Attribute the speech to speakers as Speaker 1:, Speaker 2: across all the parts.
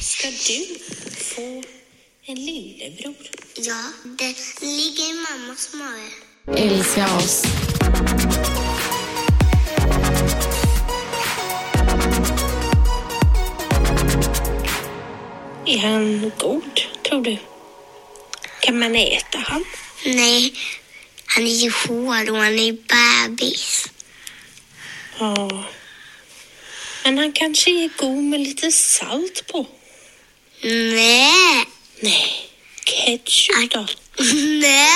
Speaker 1: Ska du få en lillebror?
Speaker 2: Ja, det ligger i mammas mage.
Speaker 3: Älska oss.
Speaker 1: Är han god, tror du? Kan man äta han?
Speaker 2: Nej, han är ju hård och han är bebis.
Speaker 1: Ja. Men han kanske är god med lite salt på?
Speaker 2: Nej,
Speaker 1: Nej. Ketchup då?
Speaker 2: nej,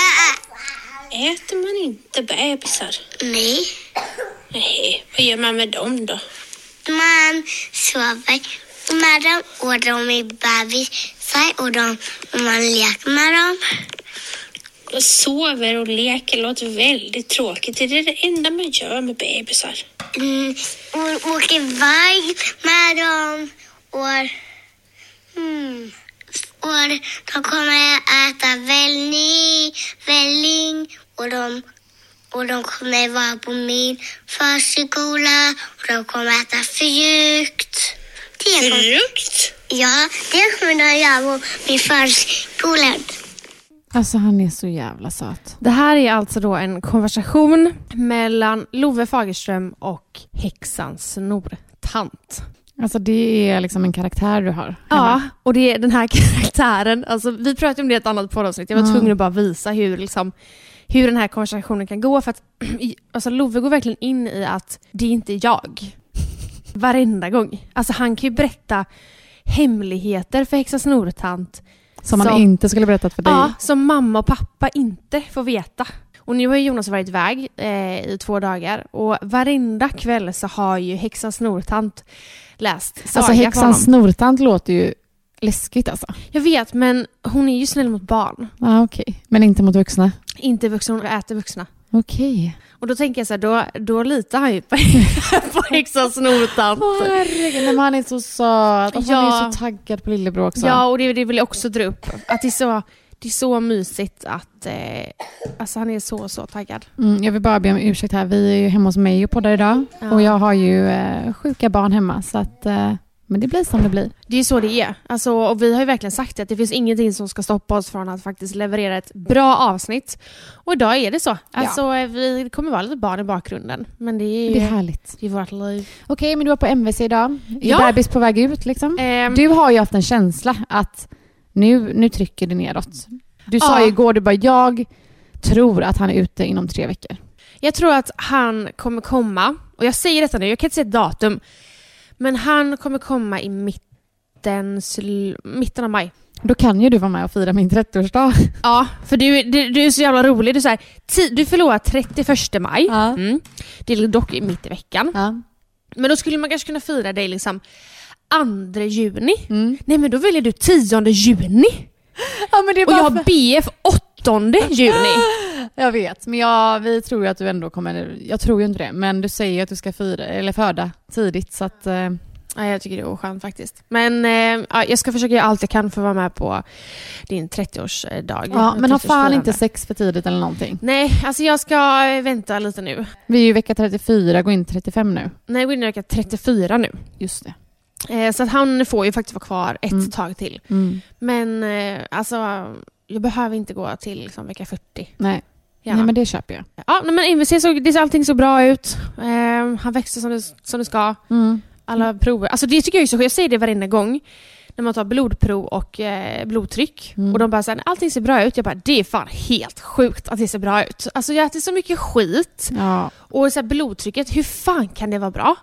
Speaker 1: Äter man inte bebisar?
Speaker 2: nej.
Speaker 1: Nej. Vad gör man med dem då?
Speaker 2: Man sover med dem och de är bebisar och, de, och man leker med dem.
Speaker 1: Och sover och leker låter väldigt tråkigt. Det är det enda man gör med bebisar.
Speaker 2: Mm, och åker iväg med dem och, mm, och de kommer att äta välling, välling och de och de kommer vara på min förskola och de kommer äta frukt. Det kommer,
Speaker 1: Frukt?
Speaker 2: ja, det kommer de göra på min förskola.
Speaker 3: Alltså han är så jävla söt.
Speaker 4: Det här är alltså då en konversation mellan Love Fagerström och häxan Snortant.
Speaker 3: Alltså det är liksom en karaktär du har.
Speaker 4: Ja, och det är den här karaktären. Alltså, vi pratade om det i ett annat poddavsnitt. Jag var tvungen att bara visa hur, liksom, hur den här konversationen kan gå. För att, alltså, Love går verkligen in i att det är inte jag. Varenda gång. Alltså, han kan ju berätta hemligheter för häxan Snortant.
Speaker 3: Som man
Speaker 4: Som-
Speaker 3: inte skulle berättat för dig.
Speaker 4: Ja, som mamma och pappa inte får veta. Och nu har ju Jonas varit iväg eh, i två dagar och varenda kväll så har ju häxan Snortant läst saga
Speaker 3: alltså
Speaker 4: för honom.
Speaker 3: häxan Snortant låter ju läskigt alltså.
Speaker 4: Jag vet, men hon är ju snäll mot barn.
Speaker 3: Ja, okej. Men inte mot vuxna.
Speaker 4: Inte vuxna, hon äter vuxna.
Speaker 3: Okej.
Speaker 4: Och då tänker jag så här, då, då litar han ju på, på häxan Snortant.
Speaker 3: Åh herregud, men han är så söt. Och Han
Speaker 4: Ja.
Speaker 3: är så taggad på lillebror också.
Speaker 4: Ja, och det, det vill jag också dra upp. Att det är så, det är så mysigt att... Eh, alltså han är så, så taggad.
Speaker 3: Mm, jag vill bara be om ursäkt här. Vi är ju hemma hos mig och poddar idag.
Speaker 4: Ja.
Speaker 3: Och jag har ju eh, sjuka barn hemma. Så att, eh, men det blir som det blir.
Speaker 4: Det är ju så det är. Alltså, och vi har ju verkligen sagt att det finns ingenting som ska stoppa oss från att faktiskt leverera ett bra avsnitt. Och idag är det så. Alltså, Vi kommer vara lite barn i bakgrunden. Men det är ju
Speaker 3: Det är härligt.
Speaker 4: det är vårt liv.
Speaker 3: Okej, men du var på MVC idag. Är
Speaker 4: Ja.
Speaker 3: bebis på väg ut liksom?
Speaker 4: Ehm,
Speaker 3: Du har ju haft en känsla att nu, nu trycker det neråt. Du sa
Speaker 4: Ja.
Speaker 3: ju igår, du bara jag tror att han är ute inom tre veckor.
Speaker 4: Jag tror att han kommer komma, och jag säger detta nu, jag kan inte säga ett datum. Men han kommer komma i mitten, sl- mitten av maj.
Speaker 3: Då kan ju du vara med och fira min 30-årsdag.
Speaker 4: Ja, för du, du, du är så jävla rolig. Du, är så här, ti- du förlorar 31 maj.
Speaker 3: Ja.
Speaker 4: Mm. Det är dock i mitt i veckan.
Speaker 3: Ja.
Speaker 4: Men då skulle man kanske kunna fira dig liksom 2 juni.
Speaker 3: Mm.
Speaker 4: Nej men då väljer du 10 juni.
Speaker 3: men det är
Speaker 4: Och
Speaker 3: bara
Speaker 4: jag har BF 8 juni.
Speaker 3: Jag vet, men jag, vi tror ju att du ändå kommer... Jag tror ju inte det, men du säger ju att du ska fira, eller föda tidigt så att... Eh,
Speaker 4: Ja, jag tycker det är oskönt faktiskt. Men eh, ja, jag ska försöka göra allt jag kan för att vara med på din 30-årsdag.
Speaker 3: Ja, men ha fan
Speaker 4: 30-årsfirande.
Speaker 3: inte sex för tidigt eller någonting.
Speaker 4: Nej, alltså jag ska eh, vänta lite nu.
Speaker 3: Vi är ju vecka 34, går in 35 nu.
Speaker 4: Nej, jag går in i vecka 34 nu.
Speaker 3: Just det.
Speaker 4: Eh, så att han får ju faktiskt vara kvar ett
Speaker 3: Mm.
Speaker 4: tag till.
Speaker 3: Mm.
Speaker 4: Men eh, alltså, jag behöver inte gå till liksom, vecka 40.
Speaker 3: Nej.
Speaker 4: Gärna.
Speaker 3: Nej, men det köper jag.
Speaker 4: Ja, nej, men IVC så, det ser allting så bra ut. Eh, han växer som det, som det ska.
Speaker 3: Mm.
Speaker 4: Alla prover. Alltså det tycker jag är så Jag säger det varenda gång. När man tar blodprov och eh, blodtryck.
Speaker 3: Mm.
Speaker 4: Och de bara säger allting ser bra ut. Jag bara, det är fan helt sjukt att det ser bra ut. Alltså jag äter så mycket skit.
Speaker 3: Ja.
Speaker 4: Och så här, blodtrycket, hur fan kan det vara bra?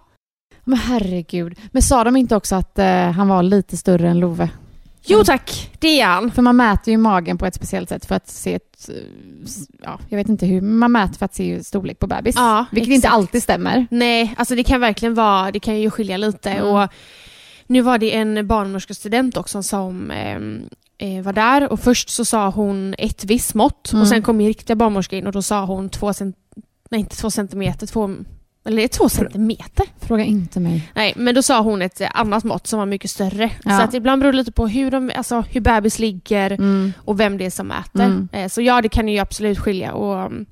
Speaker 3: Men herregud. Men sa de inte också att eh, han var lite större än Love? Mm.
Speaker 4: Jo tack, det är han.
Speaker 3: För man mäter ju magen på ett speciellt sätt för att se ett... eh, s- Ja, jag vet inte hur. men Man mäter för att se storlek på bebis.
Speaker 4: Ja,
Speaker 3: vilket
Speaker 4: exakt.
Speaker 3: inte alltid stämmer.
Speaker 4: Nej, alltså det kan verkligen vara, det kan ju skilja lite.
Speaker 3: Mm.
Speaker 4: Och nu var det en barnmorskestudent också som ehm, eh, var där och först så sa hon ett visst mått
Speaker 3: Mm.
Speaker 4: och sen kom ju riktiga barnmorska in och då sa hon två cent... Nej, inte två centimeter, två... Eller det är två centimeter?
Speaker 3: Fråga inte mig.
Speaker 4: Nej, men då sa hon ett eh, annat mått som var mycket större.
Speaker 3: Ja.
Speaker 4: Så att ibland beror det lite på hur, de, alltså, hur bebis ligger
Speaker 3: Mm.
Speaker 4: och vem det är som äter.
Speaker 3: Mm.
Speaker 4: Eh, Så ja, det kan ju absolut skilja och um,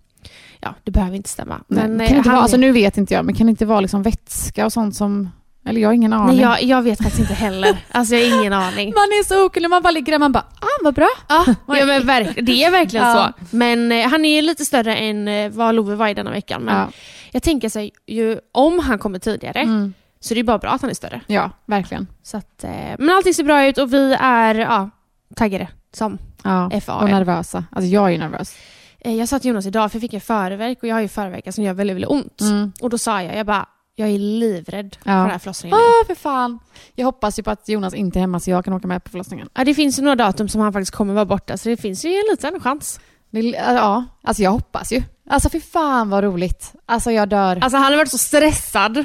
Speaker 4: ja, det behöver inte stämma.
Speaker 3: Men,
Speaker 4: eh,
Speaker 3: kan det inte
Speaker 4: han
Speaker 3: vara,
Speaker 4: är-
Speaker 3: alltså, nu vet inte jag, men kan det inte vara liksom vätska och sånt som... Eller jag har ingen aning.
Speaker 4: Nej, jag, jag vet faktiskt inte heller. Alltså jag har ingen aning.
Speaker 3: Man är så okunnig, man bara ligger där man bara ah, vad bra.
Speaker 4: Ja, ja, men verk, det är verkligen
Speaker 3: Ja.
Speaker 4: så. Men eh, han är ju lite större än eh, vad Love var i denna veckan. Men
Speaker 3: Ja,
Speaker 4: jag tänker så här, ju, om han kommer tidigare
Speaker 3: mm.
Speaker 4: så det är bara bra att han är större.
Speaker 3: ja verkligen.
Speaker 4: Så att, eh, men allting ser bra ut och vi är ja, taggade som
Speaker 3: Ja. Och
Speaker 4: FAR.
Speaker 3: nervösa. Alltså jag är ju nervös.
Speaker 4: Eh, Jag sa till Jonas idag, för jag fick en förvärk och jag har ju förvärkar som gör väldigt, väldigt ont.
Speaker 3: Mm.
Speaker 4: Och då sa jag, jag bara, jag är livrädd för
Speaker 3: Ja.
Speaker 4: den här förlossningen.
Speaker 3: Åh, för fan. Jag hoppas ju på att Jonas inte är hemma så jag kan åka med på förlossningen.
Speaker 4: Ja, det finns ju några datum som han faktiskt kommer vara borta, så det finns ju en liten chans.
Speaker 3: Det, ja, alltså jag hoppas ju. Alltså för fan vad roligt. Alltså jag dör.
Speaker 4: Alltså han har varit så stressad.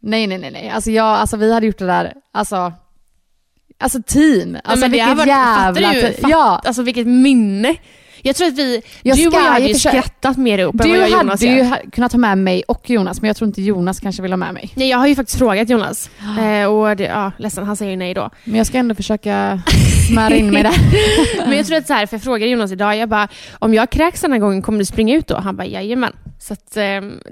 Speaker 3: nej, nej, nej, nej. Alltså, jag, alltså vi hade gjort det där, alltså, alltså team. Alltså
Speaker 4: men det har
Speaker 3: vilket
Speaker 4: varit-
Speaker 3: jävla
Speaker 4: fattar du?
Speaker 3: team.
Speaker 4: Fatt-
Speaker 3: Ja,
Speaker 4: Alltså vilket minne. Jag tror att vi,
Speaker 3: Jag
Speaker 4: du och
Speaker 3: ska-
Speaker 4: jag hade
Speaker 3: jag
Speaker 4: ju
Speaker 3: försöker-
Speaker 4: skrattat mer ihop än vad
Speaker 3: du
Speaker 4: jag och Jonas
Speaker 3: hade ju
Speaker 4: gör.
Speaker 3: ha- kunnat ha med mig och Jonas, men jag tror inte Jonas kanske vill ha med mig.
Speaker 4: Nej, jag har ju faktiskt frågat Jonas.
Speaker 3: Ah.
Speaker 4: Eh, och det, ja, ledsen, han säger ju nej då.
Speaker 3: Men jag ska ändå försöka smöra in mig där.
Speaker 4: Men jag tror att så här, för jag frågade Jonas idag, jag bara, om jag kräks den här gången, kommer du springa ut då? Han bara, jajamän. Så att, eh,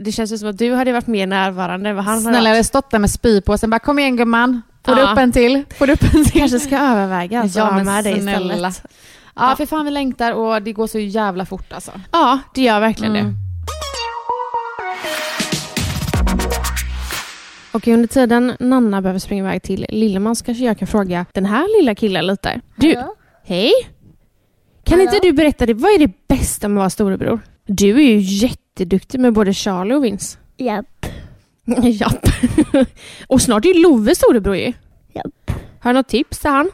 Speaker 4: det känns ju som att du hade varit mer närvarande än vad han
Speaker 3: Snälla, jag
Speaker 4: hade varit.
Speaker 3: hade stått där med spypåsen bara kom igen gumman, får du
Speaker 4: Ja.
Speaker 3: upp en till? Får du upp en till?
Speaker 4: kanske ska överväga alltså,
Speaker 3: Ja,
Speaker 4: att ha
Speaker 3: men
Speaker 4: med dig
Speaker 3: snälla.
Speaker 4: istället.
Speaker 3: Ja, för fan vi längtar och det går så jävla fort alltså.
Speaker 4: Ja, det gör verkligen
Speaker 3: Mm.
Speaker 4: det. Och under tiden Nanna behöver springa iväg till Lillemans kanske jag kan fråga den här lilla killen lite. Du, hej! Kan inte du berätta, det, vad är det bästa med att vara storebror? Du är ju jätteduktig med både Charlie och Vince.
Speaker 2: Japp.
Speaker 4: Japp. och snart är ju Love storebror ju.
Speaker 2: Japp.
Speaker 4: Har du något tips till han?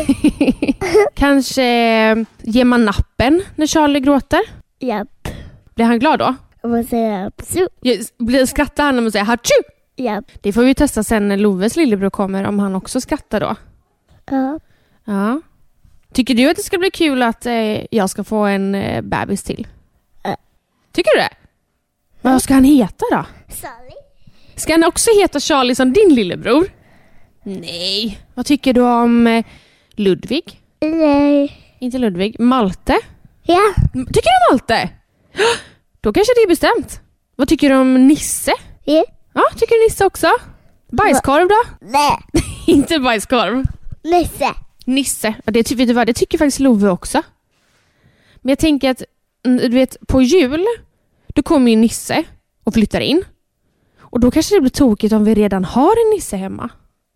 Speaker 4: Kanske eh, ger man nappen när Charlie gråter?
Speaker 2: Japp.
Speaker 4: Blir han glad då?
Speaker 2: Jag måste säga japp. Så,
Speaker 4: Yes, blir- Skrattar han när man säger hachu?
Speaker 2: Japp.
Speaker 4: Det får vi testa sen när Loves lillebror kommer, om han också skrattar då.
Speaker 2: Ja.
Speaker 4: Ja. Tycker du att det ska bli kul att eh, jag ska få en eh, bebis till?
Speaker 2: Ja.
Speaker 4: Tycker du det? Men Eh. vad ska han heta då?
Speaker 2: Sally.
Speaker 4: Ska han också heta Charlie som din lillebror? Nej. Vad tycker du om eh, Ludvig?
Speaker 2: Nej.
Speaker 4: Inte Ludvig, Malte?
Speaker 2: Ja.
Speaker 4: M- Tycker du om Malte? Då kanske det är bestämt. Vad tycker du om Nisse?
Speaker 2: Ja.
Speaker 4: Ja, tycker du Nisse också? Bajskorv då?
Speaker 2: Nej.
Speaker 4: Inte bajskorv.
Speaker 2: Nisse.
Speaker 4: Nisse. Ja, det, ty- vet du vad, det tycker faktiskt Love också. Men jag tänker att mm, du vet, på jul, då kommer ju Nisse och flyttar in. Och då kanske det blir tokigt om vi redan har en Nisse hemma.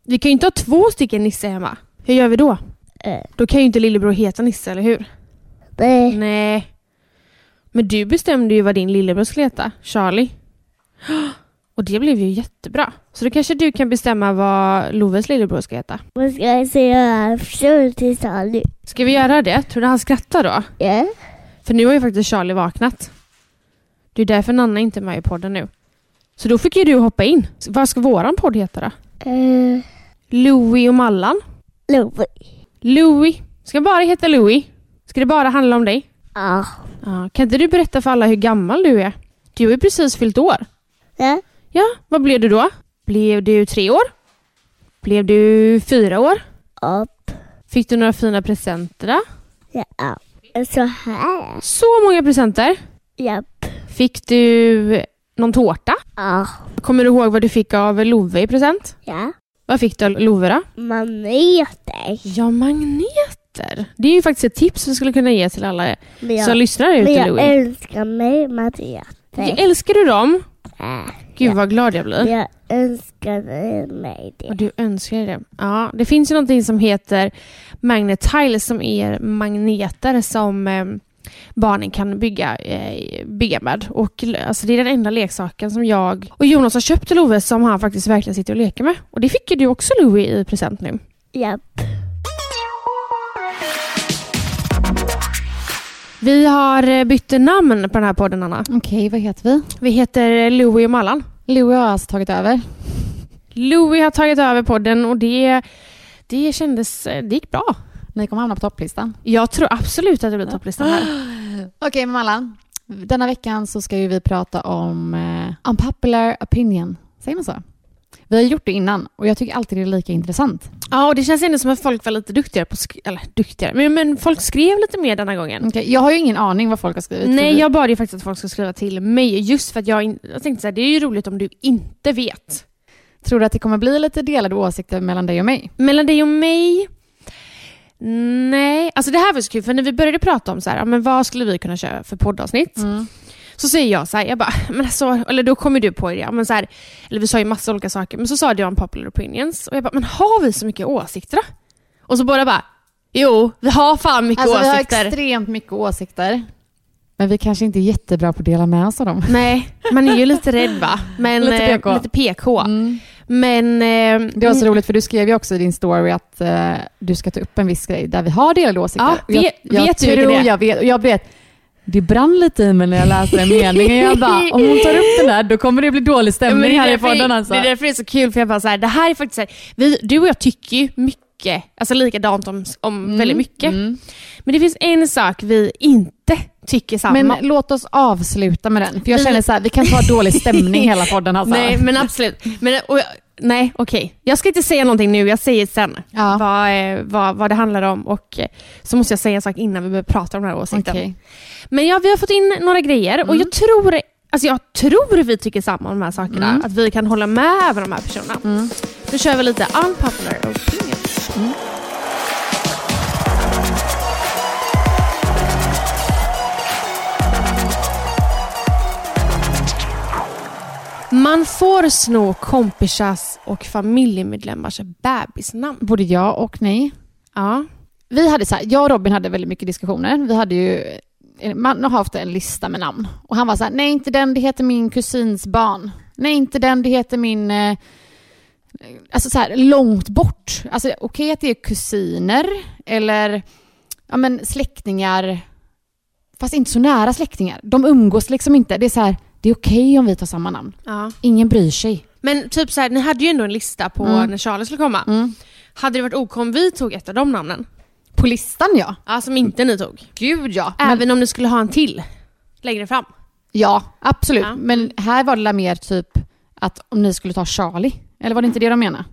Speaker 4: Vi kan ju inte ha två stycken Nisse hemma. Hur gör vi då?
Speaker 2: Eh.
Speaker 4: Då kan ju inte lillebror heta Nisse, eller hur?
Speaker 2: Nej.
Speaker 4: Nej. Men du bestämde ju vad din lillebror skulle heta, Charlie. Och det blev ju jättebra. Så då kanske du kan bestämma vad Loves lillebror ska heta.
Speaker 2: Vad ska jag säga absolut till Sally?
Speaker 4: Ska vi göra det? Tror du han skrattar då?
Speaker 2: Ja.
Speaker 4: För nu har ju faktiskt Charlie vaknat. Det är därför Nanna inte är med i podden nu. Så då fick ju du hoppa in. Så Vad ska våran podd heta då?
Speaker 2: Uh,
Speaker 4: Louie och Mallan?
Speaker 2: Love.
Speaker 4: Louie. Ska bara heta Louie? Ska det bara handla om dig?
Speaker 2: Ja.
Speaker 4: Ja, kan inte du berätta för alla hur gammal du är? Du har ju precis fyllt år.
Speaker 2: Ja.
Speaker 4: Ja, vad blev du då? Blev du tre år? Blev du fyra år?
Speaker 2: Upp.
Speaker 4: Fick du några fina presenter? då?
Speaker 2: Ja. Så här.
Speaker 4: Så många presenter!
Speaker 2: Japp.
Speaker 4: Fick du någon tårta?
Speaker 2: Ja.
Speaker 4: Kommer du ihåg vad du fick av Love i present?
Speaker 2: Ja.
Speaker 4: Vad fick du av Love då?
Speaker 2: Maneter.
Speaker 4: Ja, magneter. Det är ju faktiskt ett tips vi skulle kunna ge till alla
Speaker 2: Men jag,
Speaker 4: som lyssnar
Speaker 2: men
Speaker 4: ute,
Speaker 2: jag
Speaker 4: Louie.
Speaker 2: älskar mig maneter.
Speaker 4: Älskar du dem?
Speaker 2: Ja.
Speaker 4: Gud vad glad jag blir.
Speaker 2: Jag önskar mig
Speaker 4: Och
Speaker 2: det.
Speaker 4: du önskar dig det. Ja, det finns ju någonting som heter magnetiles som är magneter som eh, barnen kan bygga, eh, bygga med. Och, l- alltså, det är den enda leksaken som jag och Jonas har köpt till Ove som han faktiskt verkligen sitter och leker med. Och det fick ju du också Louie i present nu.
Speaker 2: Japp.
Speaker 4: Vi har eh, bytt namn på den här podden Anna.
Speaker 3: Okej, vad heter vi?
Speaker 4: Vi heter eh, Louie och Mallan.
Speaker 3: Louie har alltså tagit över.
Speaker 4: Louie har tagit över podden och det, det kändes, eh, det gick bra.
Speaker 3: Ni kommer hamna på topplistan.
Speaker 4: Jag tror absolut att det blir topplistan här.
Speaker 3: Okej, men Mallan. Denna veckan så ska ju vi prata om eh, unpopular opinion. Säger man så? Vi har gjort det innan och jag tycker alltid det är lika intressant.
Speaker 4: Ja, och det känns ändå som att folk var lite duktigare på sk- eller duktigare, men, men folk skrev lite mer denna gången.
Speaker 3: Okej, jag har ju ingen aning vad folk har skrivit.
Speaker 4: Nej,
Speaker 3: för vi-
Speaker 4: jag bad ju faktiskt att folk skulle skriva till mig just för att jag, in- jag tänkte så här, det är ju roligt om du inte vet.
Speaker 3: Tror du att det kommer bli lite delade åsikter mellan dig och mig?
Speaker 4: Mellan dig och mig? Nej, alltså det här var så kul för när vi började prata om så här, ja, men vad skulle vi kunna köra för poddavsnitt?
Speaker 3: Mm.
Speaker 4: Så säger jag så här, jag bara, men alltså, eller då kommer du på det, ja, men så här, eller vi sa ju massa olika saker, men så sa du om popular opinions och jag bara, men har vi så mycket åsikter då? Och så båda bara, jo, vi har fan mycket
Speaker 3: Alltså, vi har
Speaker 4: åsikter.
Speaker 3: extremt mycket åsikter. Men vi kanske inte är jättebra på att dela med oss av dem.
Speaker 4: Nej, man är ju lite rädd va? Men,
Speaker 3: Lite
Speaker 4: eh,
Speaker 3: PK.
Speaker 4: Lite PK.
Speaker 3: Mm.
Speaker 4: Men... eh,
Speaker 3: Det var så roligt för du skrev ju också i din story att eh, du ska ta upp en viss grej där vi har delade åsikter.
Speaker 4: Ja,
Speaker 3: Och jag,
Speaker 4: vet-
Speaker 3: jag
Speaker 4: vet du
Speaker 3: tror
Speaker 4: det?
Speaker 3: jag vet. Och jag vet. Det brann lite i mig när jag läste den meningen. Jag bara, om hon tar upp den där då kommer det bli dålig
Speaker 4: Ja,
Speaker 3: stämning
Speaker 4: men det är
Speaker 3: här i
Speaker 4: därför-
Speaker 3: podden alltså.
Speaker 4: Det är därför det är så kul, för jag bara så här, det här är faktiskt så här, vi, du och jag tycker ju mycket, alltså likadant om, om väldigt mycket.
Speaker 3: mm.
Speaker 4: Men det finns en sak vi inte tycker samma
Speaker 3: Men
Speaker 4: om.
Speaker 3: låt oss avsluta med den. För jag
Speaker 4: Vi-
Speaker 3: känner så här, vi kan ta dålig stämning hela podden alltså.
Speaker 4: Nej, men absolut. Men, och, jag- nej, okej. Jag ska inte säga någonting nu, jag säger sen
Speaker 3: Ja.
Speaker 4: vad, eh, vad, vad det handlar om. Och eh, så måste jag säga en sak innan vi börjar prata om den här åsikten.
Speaker 3: Okej.
Speaker 4: Men ja, vi har fått in några grejer och jag tror, alltså jag tror vi tycker samma om de här sakerna. Att vi kan hålla med även de här personerna. Nu kör vi lite unpopular opinions. Man får sno kompisars och familjemedlemmars bebisnamn.
Speaker 3: Både ja och nej.
Speaker 4: Ja.
Speaker 3: Vi hade så här, jag och Robin hade väldigt mycket diskussioner. Vi hade ju, man har haft en lista med namn. Och han var så här, nej inte den, det heter min kusins barn. Nej inte den, det heter min... eh, Alltså så här, långt bort. Alltså okej att det är kusiner eller ja, men släktingar. Fast inte så nära släktingar. De umgås liksom inte. Det är så här, det är okej om vi tar samma namn.
Speaker 4: ja.
Speaker 3: Ingen bryr sig.
Speaker 4: Men typ så här, ni hade ju ändå en lista på
Speaker 3: Mm.
Speaker 4: när Charlie skulle komma. Hade det varit ok om vi tog ett av de namnen?
Speaker 3: På listan ja.
Speaker 4: Ja, som inte ni tog.
Speaker 3: Gud ja.
Speaker 4: Även om ni skulle ha en till längre fram.
Speaker 3: Ja, absolut.
Speaker 4: Ja.
Speaker 3: Men här var det la mer typ att om ni skulle ta Charlie, eller var det inte det de menade?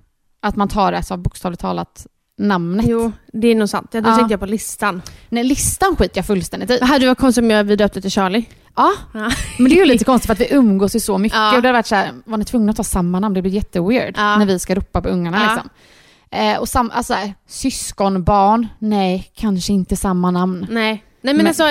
Speaker 3: Att man tar alltså bokstavligt talat namnet.
Speaker 4: Jo, det är nog sant. Då
Speaker 3: Ja.
Speaker 4: tänkte jag på listan.
Speaker 3: Nej, listan skiter jag fullständigt i.
Speaker 4: Det hade varit konstigt om jag, vi döpte till Charlie.
Speaker 3: Ja,
Speaker 4: Ja.
Speaker 3: men det är ju lite konstigt för att vi umgås ju så mycket.
Speaker 4: Ja.
Speaker 3: Och det har varit så här, var ni tvungna att ta samma namn? Det blir jätteweird
Speaker 4: Ja.
Speaker 3: när vi ska ropa på ungarna.
Speaker 4: Ja.
Speaker 3: Liksom. Eh, och sam, alltså, här, syskonbarn, nej, kanske inte samma namn.
Speaker 4: Nej. Nej men,
Speaker 3: Men-
Speaker 4: alltså,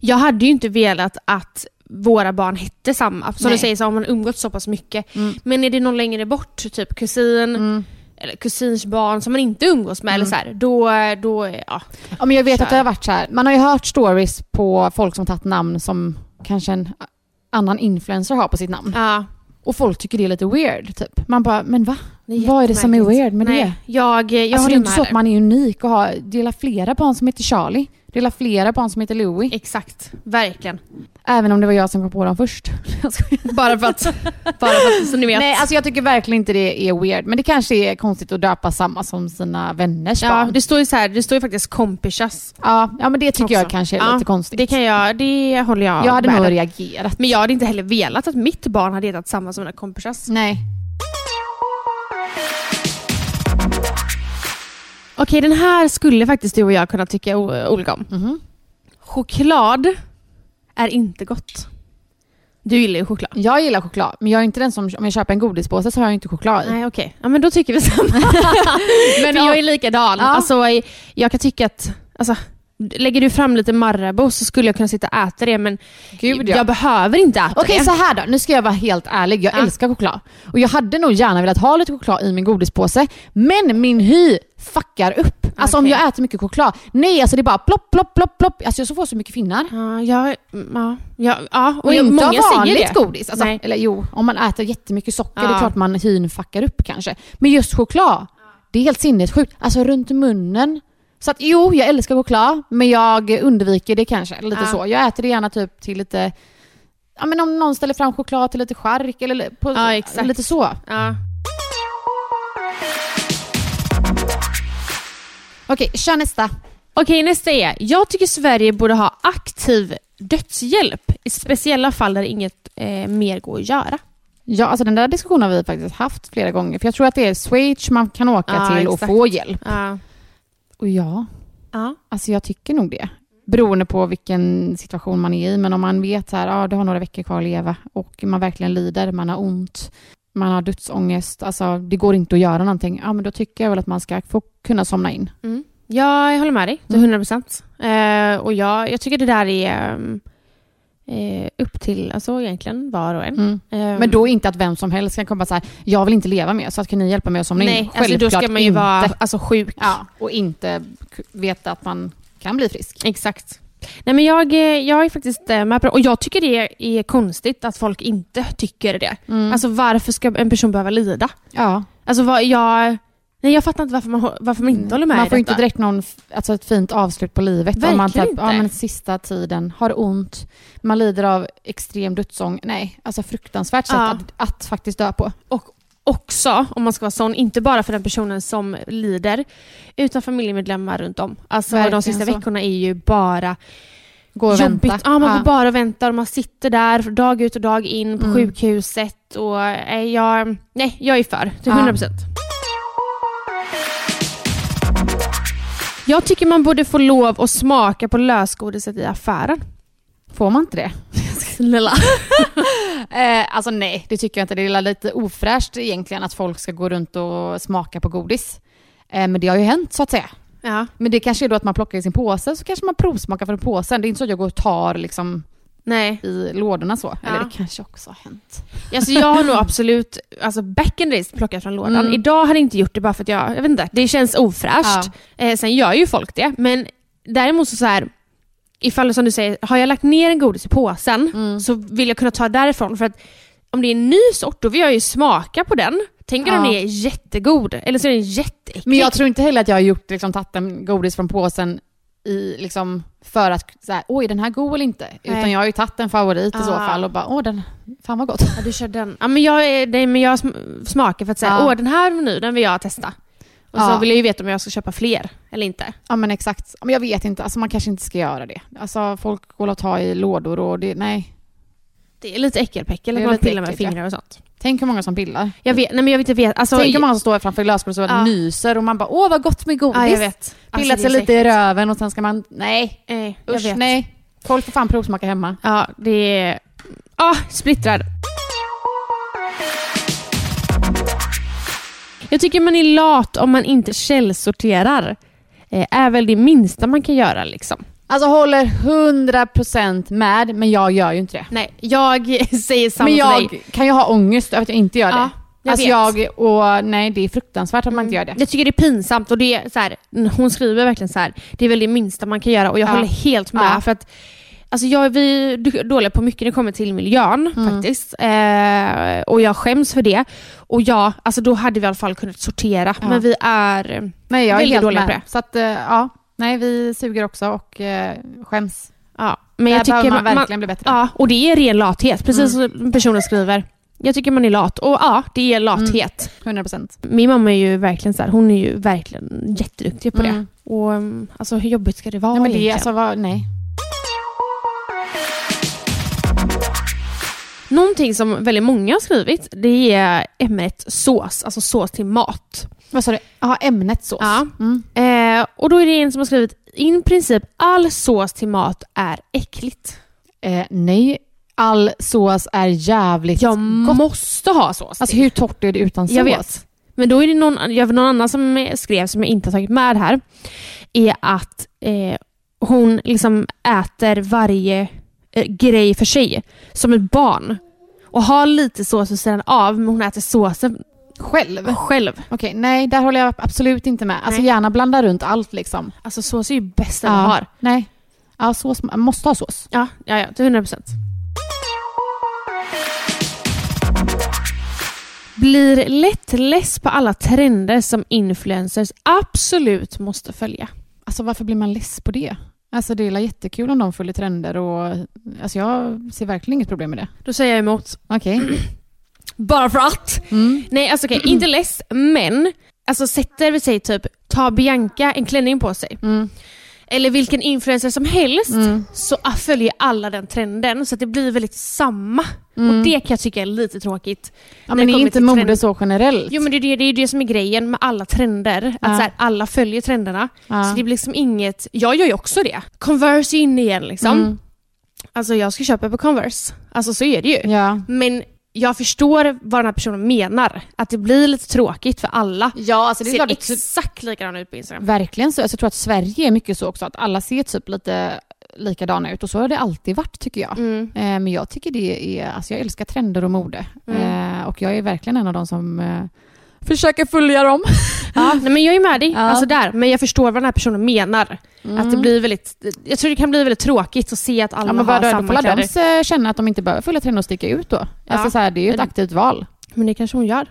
Speaker 4: jag hade ju inte velat att våra barn hette samma. Som
Speaker 3: Nej. Mm.
Speaker 4: du säger så har man umgått så pass mycket. Men är det någon längre bort, typ kusin, eller kusins barn som man inte umgås
Speaker 3: Mm.
Speaker 4: med, eller så här, då, då, ja.
Speaker 3: Ja, men jag vet
Speaker 4: Kör.
Speaker 3: att det har varit så här. Man har ju hört stories på folk som tagit namn som kanske en annan influencer har på sitt namn.
Speaker 4: ja.
Speaker 3: Och folk tycker det är lite weird. Typ. Man bara, men va?
Speaker 4: Det är
Speaker 3: Vad är det som är
Speaker 4: jättemärkligt.
Speaker 3: weird med
Speaker 4: Nej,
Speaker 3: det?
Speaker 4: Jag, jag
Speaker 3: alltså, det
Speaker 4: håller
Speaker 3: är inte
Speaker 4: med
Speaker 3: så att
Speaker 4: där.
Speaker 3: man är unik och har, delar flera barn som heter Charlie. Delar flera barn som heter Louis.
Speaker 4: Exakt, verkligen.
Speaker 3: Även om det var jag som kom på dem först. Jag skojar.
Speaker 4: Bara för att, bara för att så ni vet.
Speaker 3: Nej, alltså jag tycker verkligen inte det är weird. Men det kanske är konstigt att döpa samma som sina vänners
Speaker 4: ja,
Speaker 3: barn.
Speaker 4: det står ju så här, det står ju faktiskt kompisas.
Speaker 3: ja, ja, men det tycker jag
Speaker 4: också.
Speaker 3: kanske är
Speaker 4: Ja,
Speaker 3: lite konstigt.
Speaker 4: Det kan jag, det håller jag
Speaker 3: jag hade
Speaker 4: med
Speaker 3: nog
Speaker 4: om.
Speaker 3: reagerat.
Speaker 4: Men jag hade inte heller velat att mitt barn hade hetat samma som mina kompisars.
Speaker 3: Nej.
Speaker 4: Okej, den här skulle faktiskt du och jag kunna tycka o- olika om.
Speaker 3: Mhm.
Speaker 4: Choklad är inte gott. Du gillar ju choklad.
Speaker 3: Jag gillar choklad, men jag är inte den som, om jag köper en godispåse så har jag inte choklad i.
Speaker 4: Nej, okej. Ja, men då tycker vi samma. men
Speaker 3: ja.
Speaker 4: jag är likadan.
Speaker 3: Ja.
Speaker 4: Alltså, jag kan tycka att... Alltså, lägger du fram lite Marabou så skulle jag kunna sitta och äta det, men
Speaker 3: Gud ja.
Speaker 4: jag behöver inte äta
Speaker 3: Okej,
Speaker 4: det.
Speaker 3: så här då. Nu ska jag vara helt ärlig. Jag
Speaker 4: Ja.
Speaker 3: älskar choklad. Och jag hade nog gärna velat ha lite choklad i min godispåse. Men min hy fuckar upp. Alltså om
Speaker 4: Okej.
Speaker 3: jag äter mycket choklad. Nej, alltså det är bara plopp, plopp, plopp, plopp. Alltså jag så får så mycket finnar.
Speaker 4: Ja, jag, ja, ja, ja.
Speaker 3: Och,
Speaker 4: jag-
Speaker 3: inte
Speaker 4: många
Speaker 3: av
Speaker 4: säger
Speaker 3: vanligt
Speaker 4: det.
Speaker 3: godis. Alltså,
Speaker 4: Nej.
Speaker 3: eller jo, om man äter jättemycket socker, det är
Speaker 4: Ja.
Speaker 3: klart man hyn fuckar upp kanske. Men just choklad, det är helt sinnessjukt. Alltså runt munnen. Så att jo, jag älskar choklad, men jag undviker det kanske. Lite
Speaker 4: Ja.
Speaker 3: så. Jag äter det gärna typ till lite, ja men om någon ställer fram choklad till lite chark eller li- på,
Speaker 4: Ja, exakt.
Speaker 3: lite så.
Speaker 4: Ja.
Speaker 3: Okej, kör nästa.
Speaker 4: Okej, nästa är. Jag tycker Sverige borde ha aktiv dödshjälp i speciella fall där inget eh, mer går att göra.
Speaker 3: Ja, alltså den där diskussionen har vi faktiskt haft flera gånger. För jag tror att det är Schweiz man kan åka
Speaker 4: Ja,
Speaker 3: till och
Speaker 4: exakt.
Speaker 3: få hjälp.
Speaker 4: Ja.
Speaker 3: Och ja,
Speaker 4: Ja.
Speaker 3: Alltså jag tycker nog det. Beroende på vilken situation man är i. Men om man vet så här, ah, du har några veckor kvar att leva och man verkligen lider, man har ont, man har dödsångest, alltså det går inte att göra någonting. Ja, men då tycker jag väl att man ska få kunna somna in.
Speaker 4: Mm. Ja, jag håller med dig
Speaker 3: Mm.
Speaker 4: till 100 procent. Eh, och jag, jag tycker det där är ehm, eh, upp till alltså, egentligen var och en.
Speaker 3: Mm.
Speaker 4: Ehm,
Speaker 3: Men då inte att vem som helst kan komma så här, jag vill inte leva mer, så att kan ni hjälpa mig att somna in?
Speaker 4: nej, alltså, då ska man ju
Speaker 3: inte.
Speaker 4: vara alltså, sjuk.
Speaker 3: Ja, och inte k- veta att man kan bli frisk.
Speaker 4: Exakt. Nej, men jag, eh, jag är faktiskt eh, med på det. Och jag tycker det är konstigt att folk inte tycker det.
Speaker 3: Mm.
Speaker 4: Alltså varför ska en person behöva lida?
Speaker 3: Ja.
Speaker 4: Alltså vad, jag... Nej, jag fattar inte varför man, hå- varför man inte håller med
Speaker 3: Mm. man
Speaker 4: i
Speaker 3: får
Speaker 4: detta.
Speaker 3: inte direkt någon, f- alltså ett fint avslut på livet. om man typ,
Speaker 4: Verkligen
Speaker 3: Ja,
Speaker 4: inte.
Speaker 3: men sista tiden har ont, man lider av extrem dödsång. Nej, alltså fruktansvärt sätt
Speaker 4: Ja.
Speaker 3: att, att faktiskt dö på.
Speaker 4: Och också, om man ska vara sån, inte bara för den personen som lider, utan familjemedlemmar runt om. Alltså
Speaker 3: Verkligen
Speaker 4: de sista
Speaker 3: så.
Speaker 4: veckorna är ju bara
Speaker 3: Gå och
Speaker 4: jobbigt.
Speaker 3: vänta. Ah.
Speaker 4: Ja, man går bara och väntar och man sitter där dag ut och dag in
Speaker 3: Mm.
Speaker 4: på sjukhuset. Och, nej, jag, nej, jag är för till
Speaker 3: Ja.
Speaker 4: 100 procent. Jag tycker man borde få lov att smaka på lösgodiset i affären.
Speaker 3: Får man inte det?
Speaker 4: Snälla.
Speaker 3: Eh, alltså nej, det tycker jag inte. Det är lite ofräscht egentligen att folk ska gå runt och smaka på godis. Eh, men det har ju hänt så att säga.
Speaker 4: Ja.
Speaker 3: Men det kanske är då att man plockar i sin påse så kanske man provsmakar från påsen. Det är inte så att jag går och tar liksom
Speaker 4: Nej.
Speaker 3: i lådorna så.
Speaker 4: Ja.
Speaker 3: Eller det kanske också har hänt.
Speaker 4: Alltså jag har nog absolut, alltså back in the days plockat från lådan.
Speaker 3: Mm.
Speaker 4: Idag har jag inte gjort det bara för att jag, jag vet inte, det känns ofräscht. Eh, sen gör ju folk det, men däremot så, så här, ifall som du säger, har jag lagt ner en godis i påsen
Speaker 3: Mm.
Speaker 4: så vill jag kunna ta därifrån för att om det är en ny sort då vill jag ju smaka på den. Tänk om
Speaker 3: Ja.
Speaker 4: den är jättegod, eller så är den jätteäcklig.
Speaker 3: Men jag tror inte heller att jag har gjort, liksom, tagit en godis från påsen i, liksom, för att så här, oj är den här god eller inte? Utan jag har ju tagit en favorit i så
Speaker 4: Ah.
Speaker 3: fall och bara, åh den, fan vad gott.
Speaker 4: Ja, du kör den. Ja, men jag, är- nej, men jag sm- smakar för att säga,
Speaker 3: Ja.
Speaker 4: åh den här var ny, den vill jag testa. Och
Speaker 3: Ja.
Speaker 4: så vill jag ju veta om jag ska köpa fler eller inte.
Speaker 3: Ja men exakt, Ja, men jag vet inte, alltså, man kanske inte ska göra det. Alltså folk går och tar i lådor och det, nej.
Speaker 4: Det är lite äckelpäckel
Speaker 3: Det
Speaker 4: att
Speaker 3: är
Speaker 4: man
Speaker 3: lite
Speaker 4: pillar med
Speaker 3: äckligt, ja.
Speaker 4: fingrar och sånt.
Speaker 3: Tänk hur många som pillar.
Speaker 4: Jag vet, nej men jag vet, jag vet. Alltså,
Speaker 3: Tänk hur många som står framför glasbordet och så
Speaker 4: Ja.
Speaker 3: nyser och man bara, åh vad gott med godis.
Speaker 4: ja, jag vet.
Speaker 3: Pillat
Speaker 4: Alltså, det
Speaker 3: sig
Speaker 4: är
Speaker 3: lite
Speaker 4: säkert-
Speaker 3: i röven och sen ska man, nej,
Speaker 4: Nej, jag
Speaker 3: usch
Speaker 4: vet.
Speaker 3: nej. Folk får fan provsmaka hemma.
Speaker 4: Ja, det är... Ah, splittrad. Jag tycker man är lat om man inte källsorterar. Eh, är väl det minsta man kan göra liksom.
Speaker 3: Alltså håller 100% med, men jag gör ju inte det.
Speaker 4: Nej, jag säger samma
Speaker 3: Men
Speaker 4: som
Speaker 3: jag
Speaker 4: dig.
Speaker 3: kan ju ha ångest över att jag inte gör det.
Speaker 4: Ja, jag
Speaker 3: alltså
Speaker 4: vet. Mm.
Speaker 3: jag, och nej det är fruktansvärt att man inte gör det.
Speaker 4: Jag tycker det är pinsamt och det är så här, hon skriver verkligen så här. det är väl det minsta man kan göra och jag
Speaker 3: Ja.
Speaker 4: håller helt med.
Speaker 3: Ja.
Speaker 4: För att, alltså jag, vi är du- dåliga på mycket när det kommer till miljön
Speaker 3: Mm.
Speaker 4: faktiskt. Eh, och jag skäms för det. Och ja, alltså då hade vi i alla fall kunnat sortera.
Speaker 3: Ja.
Speaker 4: Men vi är...
Speaker 3: Nej jag är
Speaker 4: Väldigt
Speaker 3: helt
Speaker 4: dålig
Speaker 3: med.
Speaker 4: på det.
Speaker 3: Så att eh, ja, nej vi suger också och eh, skäms.
Speaker 4: Ja, men
Speaker 3: Där
Speaker 4: jag tycker
Speaker 3: behöver man verkligen bli bättre. Mm.
Speaker 4: Ja, och det är ren lathet. Precis som personen skriver. Jag tycker man är lat. Och ja, det är lathet.
Speaker 3: Mm. 100%.
Speaker 4: Min mamma är ju verkligen så här, hon är ju verkligen jätteduktig på
Speaker 3: Mm.
Speaker 4: det. Och um, alltså hur jobbigt ska det vara
Speaker 3: nej men det
Speaker 4: egentligen?
Speaker 3: är alltså, vad, nej.
Speaker 4: Någonting som väldigt många har skrivit, det är ämnet sås, alltså sås till mat.
Speaker 3: Vad sa du? Ja, ämnet sås.
Speaker 4: Ja.
Speaker 3: Mm.
Speaker 4: Eh, Eh, och då är det en som har skrivit in princip all sås till mat är äckligt.
Speaker 3: Eh, nej, all sås är jävligt
Speaker 4: Jag
Speaker 3: gott.
Speaker 4: måste ha sås.
Speaker 3: Alltså hur torrt är det utan sås?
Speaker 4: Jag vet. Men då är det någon, jag, någon annan som skrev, som jag inte har tagit med här, är att eh, hon liksom äter varje eh, grej för sig, som ett barn. Och har lite sås vid sidan av, men hon äter såsen
Speaker 3: Själv? Okej,
Speaker 4: själv.
Speaker 3: nej, där håller jag absolut inte med. Alltså
Speaker 4: Nej.
Speaker 3: gärna blanda runt allt liksom.
Speaker 4: Alltså sås är ju bästa
Speaker 3: Ja,
Speaker 4: man har.
Speaker 3: Nej. Ja, sås, man måste ha sås.
Speaker 4: Ja, ja, ja, till 100 procent. Blir lätt less på alla trender som influencers absolut måste följa.
Speaker 3: Alltså varför blir man less på det? Alltså det är väl jättekul om de följer trender och alltså jag ser verkligen inget problem med det.
Speaker 4: Då säger jag emot.
Speaker 3: Okej.
Speaker 4: Bara för att?
Speaker 3: Mm.
Speaker 4: Nej, alltså okej, inte less, men alltså sätter vi sig typ, ta Bianca en klänning på sig.
Speaker 3: Mm.
Speaker 4: Eller vilken influencer som helst, så följer alla den trenden. Så att det blir väldigt samma. Och det kan jag tycka är lite tråkigt.
Speaker 3: Mm. Ja,
Speaker 4: när det
Speaker 3: men är
Speaker 4: kommer
Speaker 3: inte
Speaker 4: till
Speaker 3: mode
Speaker 4: trend-
Speaker 3: så generellt?
Speaker 4: Jo men det är ju det, är ju det som är grejen med alla trender. Att
Speaker 3: Ja.
Speaker 4: så här, alla följer trenderna.
Speaker 3: Ja.
Speaker 4: Så det blir liksom inget, jag gör ju också det. Converse är in igen liksom.
Speaker 3: Mm.
Speaker 4: Alltså jag ska köpa på Converse. Alltså så är det ju.
Speaker 3: Ja.
Speaker 4: Men jag förstår vad den här personen menar. Att det blir lite tråkigt för alla.
Speaker 3: Ja, alltså
Speaker 4: ser exakt likadana ut på Instagram.
Speaker 3: Verkligen så. Alltså, jag tror att Sverige är mycket så också, att alla ser typ lite likadana ut och så har det alltid varit tycker jag.
Speaker 4: Mm.
Speaker 3: Eh, Men jag tycker det är, alltså jag älskar trender och mode
Speaker 4: Mm.
Speaker 3: eh, och jag är verkligen en av de som eh, försöker följa dem.
Speaker 4: Ja, nej, men jag är med dig.
Speaker 3: Ja. Mm.
Speaker 4: Alltså där. Men jag förstår vad den här personen menar. Att det blir väldigt, jag tror det kan bli väldigt tråkigt att se att alla
Speaker 3: Ja, men
Speaker 4: har
Speaker 3: vad då, då
Speaker 4: samma
Speaker 3: får alla
Speaker 4: kläder.
Speaker 3: de se- känna att de inte behöver följa trender och sticka ut då. Alltså så här, det är ju ett
Speaker 4: Men-
Speaker 3: aktivt val.
Speaker 4: Men det kanske hon gör.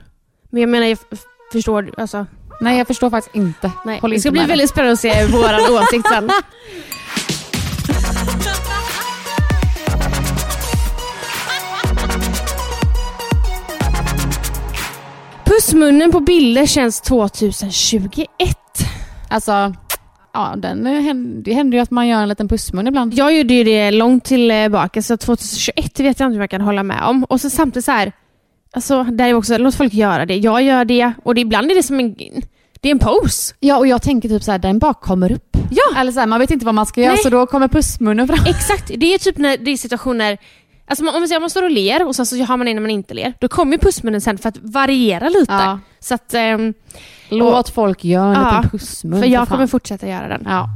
Speaker 4: Men jag menar, jag f- förstår. Alltså,
Speaker 3: Nej, jag förstår faktiskt inte.
Speaker 4: Nej,
Speaker 3: Håller
Speaker 4: det ska
Speaker 3: inte
Speaker 4: bli
Speaker 3: med
Speaker 4: väldigt spännande att se vår åsikt sen. Pussmunnen på bilder känns 2021.
Speaker 3: dig. Alltså, ja, den, eh, händer- det händer ju att man gör en liten pussmun ibland.
Speaker 4: Jag gjorde ju det långt tillbaka, så 2021 vet jag inte om jag kan hålla med om. Och så samtidigt så här, alltså, där är också, låt folk göra det. Jag gör det och det, ibland är det som en, det är en pose.
Speaker 3: Ja, och jag tänker typ så här, den bara kommer upp.
Speaker 4: Ja.
Speaker 3: Eller så här, man vet inte vad man ska göra
Speaker 4: Nej.
Speaker 3: så då kommer pussmunnen fram.
Speaker 4: Exakt, det är typ när det är situationer Alltså man- om vi säger att man står och ler och sen så har man en när man inte ler. Då kommer ju pussmunnen sen för att variera lite.
Speaker 3: Ja.
Speaker 4: Så att, ehm,
Speaker 3: Låt folk göra en
Speaker 4: Ja,
Speaker 3: liten pussmun.
Speaker 4: för jag
Speaker 3: fan.
Speaker 4: kommer fortsätta göra den.
Speaker 3: Ja.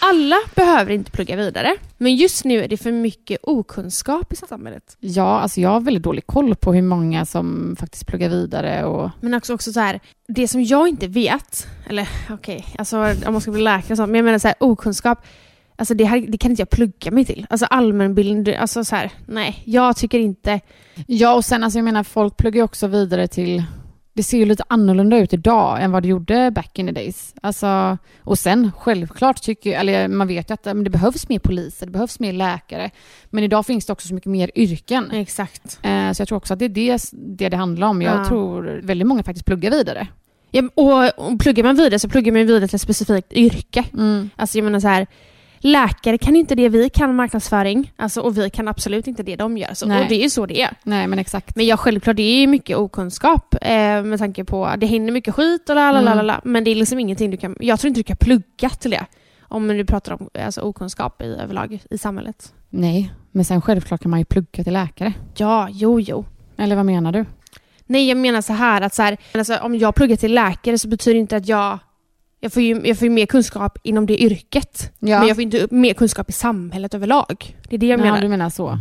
Speaker 4: Alla behöver inte plugga vidare. Men just nu är det för mycket okunskap i samhället.
Speaker 3: ja, alltså jag har väldigt dålig koll på hur många som faktiskt pluggar vidare och
Speaker 4: Men också, också så här, det som jag inte vet, eller okej, alltså om man ska bli läkare och sånt, men jag menar så här, okunskap, alltså det, här, det kan inte jag plugga mig till. Alltså allmänbildning, det- alltså så här, nej, jag tycker inte,
Speaker 3: Ja, och sen alltså jag menar folk pluggar ju också vidare till det ser ju lite annorlunda ut idag än vad det gjorde back in the days. Alltså, och sen självklart tycker jag, eller man vet ju att ja, men det behövs mer poliser, det behövs mer läkare. Men idag finns det också så mycket mer yrken.
Speaker 4: exakt.
Speaker 3: Eh, Så jag tror också att det är det det, det handlar om. Jag
Speaker 4: Ja.
Speaker 3: tror väldigt många faktiskt pluggar vidare.
Speaker 4: Ja, och, och pluggar man vidare så pluggar man vidare till ett specifikt yrke. Alltså jag menar så här, läkare kan inte det vi kan marknadsföring alltså, och vi kan absolut inte det de gör. Så,
Speaker 3: Nej.
Speaker 4: och det är ju så det är.
Speaker 3: Nej, men exakt.
Speaker 4: Men ja, självklart det är ju mycket okunskap eh, med tanke på det händer mycket skit och la, la, la, la, la, men det är liksom ingenting du kan, jag tror inte du kan plugga till det. Om du pratar om alltså, okunskap i, överlag i samhället.
Speaker 3: Nej, men sen självklart kan man ju plugga till läkare.
Speaker 4: Ja, jo, jo.
Speaker 3: Eller vad menar du?
Speaker 4: Nej, jag menar så här att så här, alltså, om jag pluggar till läkare så betyder det inte att jag... Jag får ju, jag får ju mer kunskap inom det yrket.
Speaker 3: Ja.
Speaker 4: Men jag får inte upp mer kunskap i samhället överlag. Det är det jag
Speaker 3: Ja,
Speaker 4: menar.
Speaker 3: du menar så.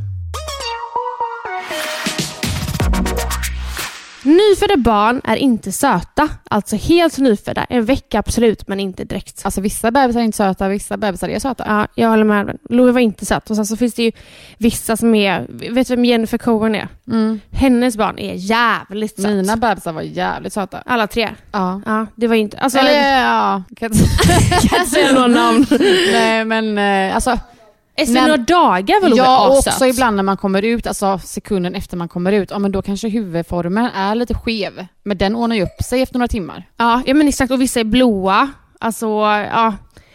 Speaker 4: Nyfödda barn är inte söta. Alltså helt nyfödda. En vecka absolut, men inte direkt.
Speaker 3: Alltså vissa bebisar är inte söta, vissa bebisar är söta.
Speaker 4: Ja, jag håller med. Louie var inte söt. Och sen så finns det ju vissa som är... Vet du vem Jennifer Cohen är?
Speaker 3: Mm.
Speaker 4: Hennes barn är jävligt söt.
Speaker 3: Mina bebisar var jävligt söta.
Speaker 4: Alla tre.
Speaker 3: Ja.
Speaker 4: Ja, det var ju inte... Alltså,
Speaker 3: Eller ja, kan
Speaker 4: jag säger några namn.
Speaker 3: Nej men eh, alltså,
Speaker 4: Efter
Speaker 3: Nej,
Speaker 4: några dagar var Louie
Speaker 3: ja, och
Speaker 4: assöt.
Speaker 3: också ibland när man kommer ut, alltså sekunden efter man kommer ut, ja men då kanske huvudformen är lite skev. Men den ordnar ju upp sig efter några timmar.
Speaker 4: Ja, ja men exakt. Och vissa är blåa. Alltså, ja.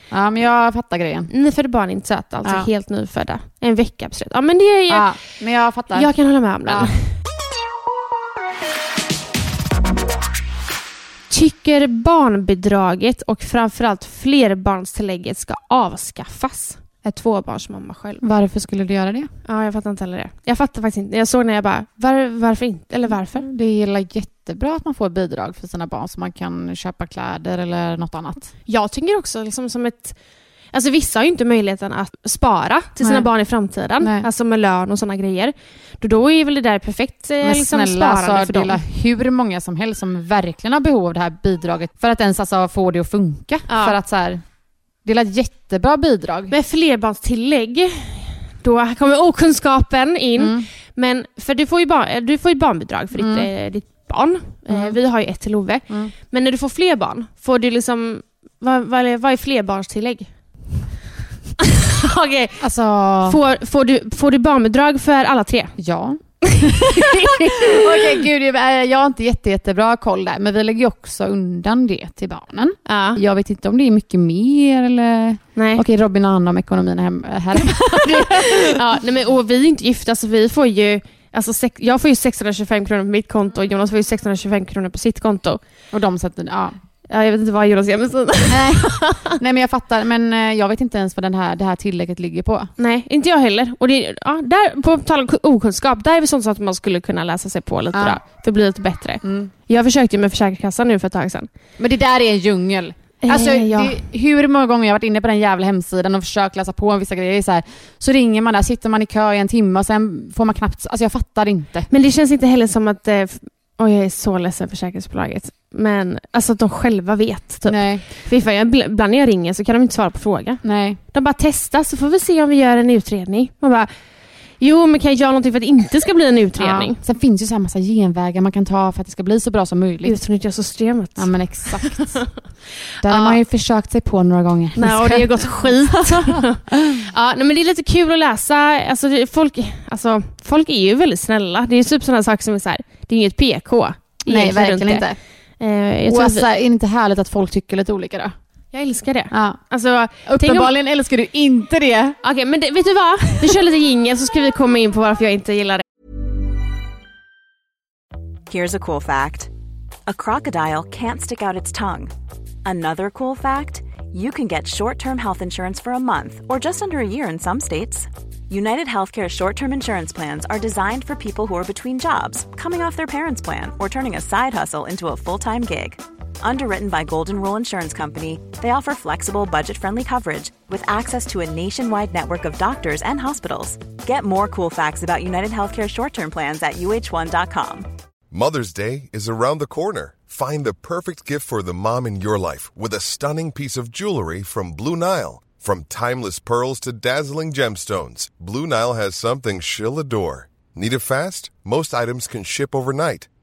Speaker 3: Ja men jag fattar grejen.
Speaker 4: Nyfödda barn är inte söta. Alltså
Speaker 3: Ja.
Speaker 4: helt nyfödda. En vecka absolut. Ja, men det är,
Speaker 3: Ja, men jag fattar.
Speaker 4: jag kan hålla med om den.
Speaker 3: Ja.
Speaker 4: tycker barnbidraget och framförallt flerbarnstillägget ska avskaffas. Är tvåbarnsmamma själv.
Speaker 3: Varför skulle du göra det?
Speaker 4: Ja, jag fattar inte heller det. Jag fattar faktiskt inte. Jag såg när jag bara, var, varför inte? Eller varför?
Speaker 3: Det är väl jättebra att man får bidrag för sina barn så man kan köpa kläder eller något annat.
Speaker 4: Jag tänker också liksom som ett... Alltså vissa har ju inte möjligheten att spara till sina
Speaker 3: Nej.
Speaker 4: barn i framtiden.
Speaker 3: Nej.
Speaker 4: Alltså med lön och sådana grejer. Då, då är väl det där perfekt eh,
Speaker 3: Men
Speaker 4: liksom,
Speaker 3: snälla,
Speaker 4: sparande
Speaker 3: alltså,
Speaker 4: för
Speaker 3: det är
Speaker 4: dem.
Speaker 3: väl hur många som helst som verkligen har behov av det här bidraget för att ens alltså, få det att funka.
Speaker 4: Ja.
Speaker 3: För att så här, det är väl ett jättebra bidrag.
Speaker 4: Med flerbarnstillägg, då kommer okunskapen in.
Speaker 3: Mm.
Speaker 4: Men för du får ju, bar, du får ju barnbidrag för ditt, eh, ditt barn. Eh,
Speaker 3: Mm.
Speaker 4: vi har ju ett till Ove. Men när du får fler barn, får du liksom... Vad, vad, är- vad är flerbarnstillägg? Okej.
Speaker 3: Alltså,
Speaker 4: Får, får, du, får du barnbidrag för alla tre?
Speaker 3: ja. Okej, gud, jag- eh, jag har inte jätte, jättebra koll där, men vi lägger ju också undan det till barnen.
Speaker 4: Ja.
Speaker 3: Jag vet inte om det är mycket mer eller...
Speaker 4: Nej.
Speaker 3: Okej, Robin har hand om ekonomin hem, eh, här.
Speaker 4: Ja, nej men, och vi är inte gifta så vi får ju... Alltså, sex, jag får ju 625 kronor på mitt konto och Jonas får ju 625 kronor på sitt konto.
Speaker 3: Och de sätter... Ja.
Speaker 4: Ja, jag vet inte vad Jonas gör med sina.
Speaker 3: Nej. Nej, men jag fattar. Men eh, jag vet inte ens vad den här, det här tillägget ligger på.
Speaker 4: Nej, inte jag heller. Och det, ja, där, på tal om ku- okunskap, där är vi sånt att man skulle kunna läsa sig på lite
Speaker 3: Ja.
Speaker 4: bra. För att bli lite bättre.
Speaker 3: Mm.
Speaker 4: Jag försökte ju med Försäkringskassan nu för ett tag sedan.
Speaker 3: Men det där är en djungel. Alltså,
Speaker 4: Eh, ja.
Speaker 3: det, hur många gånger jag har varit inne på den jävla hemsidan och försökt läsa på om vissa grejer. Så, här, så ringer man där, sitter man i kö i en timme och sen får man knappt... Alltså jag fattar inte.
Speaker 4: Men det känns inte heller som att... Eh, f- oj, jag är så ledsen försäkringsbolaget. Men alltså att de själva vet. Typ.
Speaker 3: Nej,
Speaker 4: Fy fan, jag, ibland när jag ringer så kan de inte svara på frågan.
Speaker 3: nej.
Speaker 4: De bara testa så får vi se om vi gör en utredning. Man bara, jo men kan jag göra någonting för att det inte ska bli en utredning?
Speaker 3: Ja. Sen finns ju så här massa genvägar man kan ta för att det ska bli så bra som möjligt.
Speaker 4: Utnyttja systemet.
Speaker 3: Ja men exakt. Där har man ju försökt sig på några gånger.
Speaker 4: Nej, och det har ju gått skit. ja, nej, men det är lite kul att läsa. Alltså, det, folk, alltså, folk är ju väldigt snälla. Det är ju typ sådana saker som är så här, det är inget PK.
Speaker 3: Nej,
Speaker 4: egentligen
Speaker 3: verkligen inte.
Speaker 4: Eh, jag,
Speaker 3: Och
Speaker 4: tror
Speaker 3: alltså,
Speaker 4: att,
Speaker 3: är det inte härligt att folk tycker lite olika då?
Speaker 4: jag älskar det.
Speaker 3: Ja.
Speaker 4: Alltså, tänk om,
Speaker 3: Uppenbarligen älskar du inte det.
Speaker 4: okay, men det, vet du vad? Vi kör lite jingel så ska vi komma in på varför jag inte gillar det.
Speaker 5: Here's a cool fact a crocodile can't stick out its tongue. Another cool fact you can get short term health insurance for a month or just under a year in some states. United Healthcare short term insurance plans are designed for people who are between jobs, coming off their parents' plan, or turning a side hustle into a full time gig. Underwritten by Golden Rule Insurance Company, they offer flexible, budget friendly coverage with access to a nationwide network of doctors and hospitals. Get more cool facts about United Healthcare short term plans at uh1.com.
Speaker 6: Mother's Day is around the corner. Find the perfect gift for the mom in your life with a stunning piece of jewelry from Blue Nile. From timeless pearls to dazzling gemstones, Blue Nile has something she'll adore. Need it fast? Most items can ship overnight.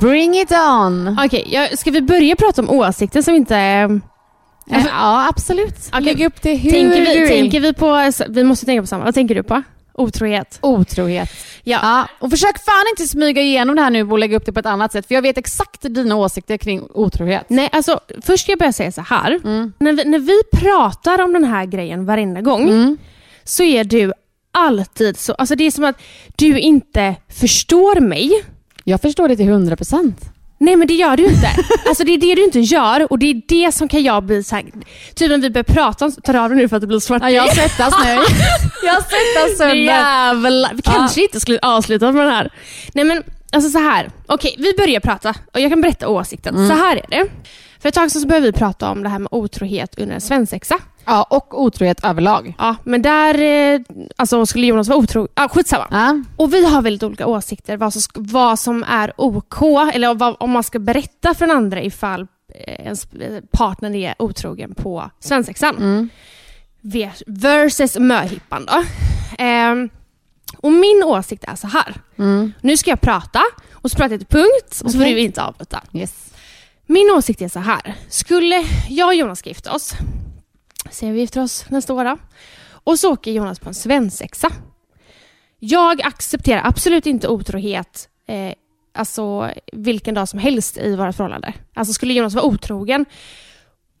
Speaker 3: Bring it on!
Speaker 4: Okej, jag- ska vi börja prata om åsikter som inte...
Speaker 3: Eh, Ja, absolut.
Speaker 4: Okej.
Speaker 3: Lägg upp det hur
Speaker 4: Tänker
Speaker 3: du
Speaker 4: vi,
Speaker 3: vill.
Speaker 4: tänker vi på... Vi måste tänka på samma. Vad tänker du på? Otrohet.
Speaker 3: Otrohet.
Speaker 4: Ja.
Speaker 3: Ja, och försök fan inte smyga igenom det här nu och lägga upp det på ett annat sätt. För jag vet exakt dina åsikter kring otrohet.
Speaker 4: Nej, alltså först ska jag börja säga så här.
Speaker 3: Mm.
Speaker 4: När, vi, när vi pratar om den här grejen varenda gång
Speaker 3: Mm.
Speaker 4: så är du alltid så... Alltså det är som att du inte förstår mig.
Speaker 3: Jag förstår det till 100 procent.
Speaker 4: Nej men det gör du inte. Alltså det är det du inte gör och det är det som kan jag bli så här, Typ när vi börjar prata om... Tar av dig nu för att det blir svart.
Speaker 3: Ja, jag svettas nu. jag svettas sönder.
Speaker 4: Jävlar. Vi kanske inte skulle avsluta med den här. Nej men, alltså så här. Okej, vi börjar prata och jag kan berätta åsikten.
Speaker 3: Mm.
Speaker 4: Så här är det. För ett tag sedan så började vi prata om det här med otrohet under en svensexa.
Speaker 3: Ja, och otrohet överlag.
Speaker 4: Ja, men där eh, alltså, skulle Jonas vara otrogen. Ah, skitsamma.
Speaker 3: Ja.
Speaker 4: Och vi har väldigt olika åsikter vad som, sk- vad som är OK, eller vad, om man ska berätta för den andra ifall eh, ens eh, partner är otrogen på svensexan.
Speaker 3: Mm.
Speaker 4: Vers- Versus möhippan då. Ehm, och min åsikt är så här. Nu ska jag prata, och så pratar jag till punkt, och så får
Speaker 3: Mm. Okej.
Speaker 4: du inte avbryta.
Speaker 3: Yes.
Speaker 4: Min åsikt är så här. Skulle jag och Jonas ska gifta oss Sen vi gifter oss nästa år. Då. Och så åker Jonas på en svensexa. Jag accepterar absolut inte otrohet eh, alltså, vilken dag som helst i våra förhållande. Alltså skulle Jonas vara otrogen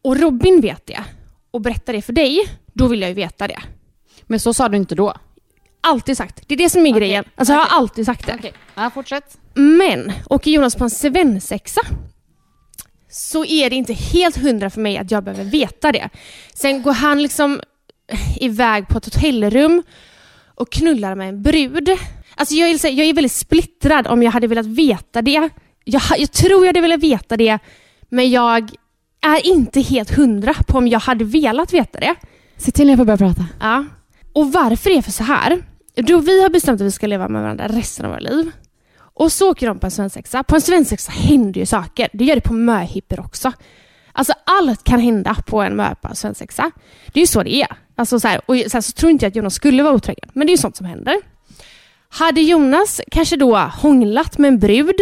Speaker 4: och Robin vet det och berättar det för dig, då vill jag ju veta det.
Speaker 3: Men så sa du inte då.
Speaker 4: Alltid sagt. Det är det som är grejen. Alltså jag har alltid sagt det.
Speaker 3: Ja, fortsätt.
Speaker 4: Men åker Jonas på en svensexa så är det inte helt hundra för mig att jag behöver veta det. Sen går han liksom iväg på ett hotellrum och knullar med en brud. Alltså jag, är, så här- jag är väldigt splittrad om jag hade velat veta det. Jag, ha- jag tror jag hade velat veta det, men jag är inte helt hundra på om jag hade velat veta det.
Speaker 3: Se till när jag får börja prata.
Speaker 4: Ja. Och varför det är för så här? Då vi har bestämt att vi ska leva med varandra resten av våra liv. Och så åker de på en svensexa. På en svensexa händer ju saker. Det gör det på möhippor också. Alltså allt kan hända på en möhippa och svensexa. Det är ju så det är. Alltså så här, och sen så tror inte jag att Jonas skulle vara otrogen, men det är ju sånt som händer. Hade Jonas kanske då hånglat med en brud,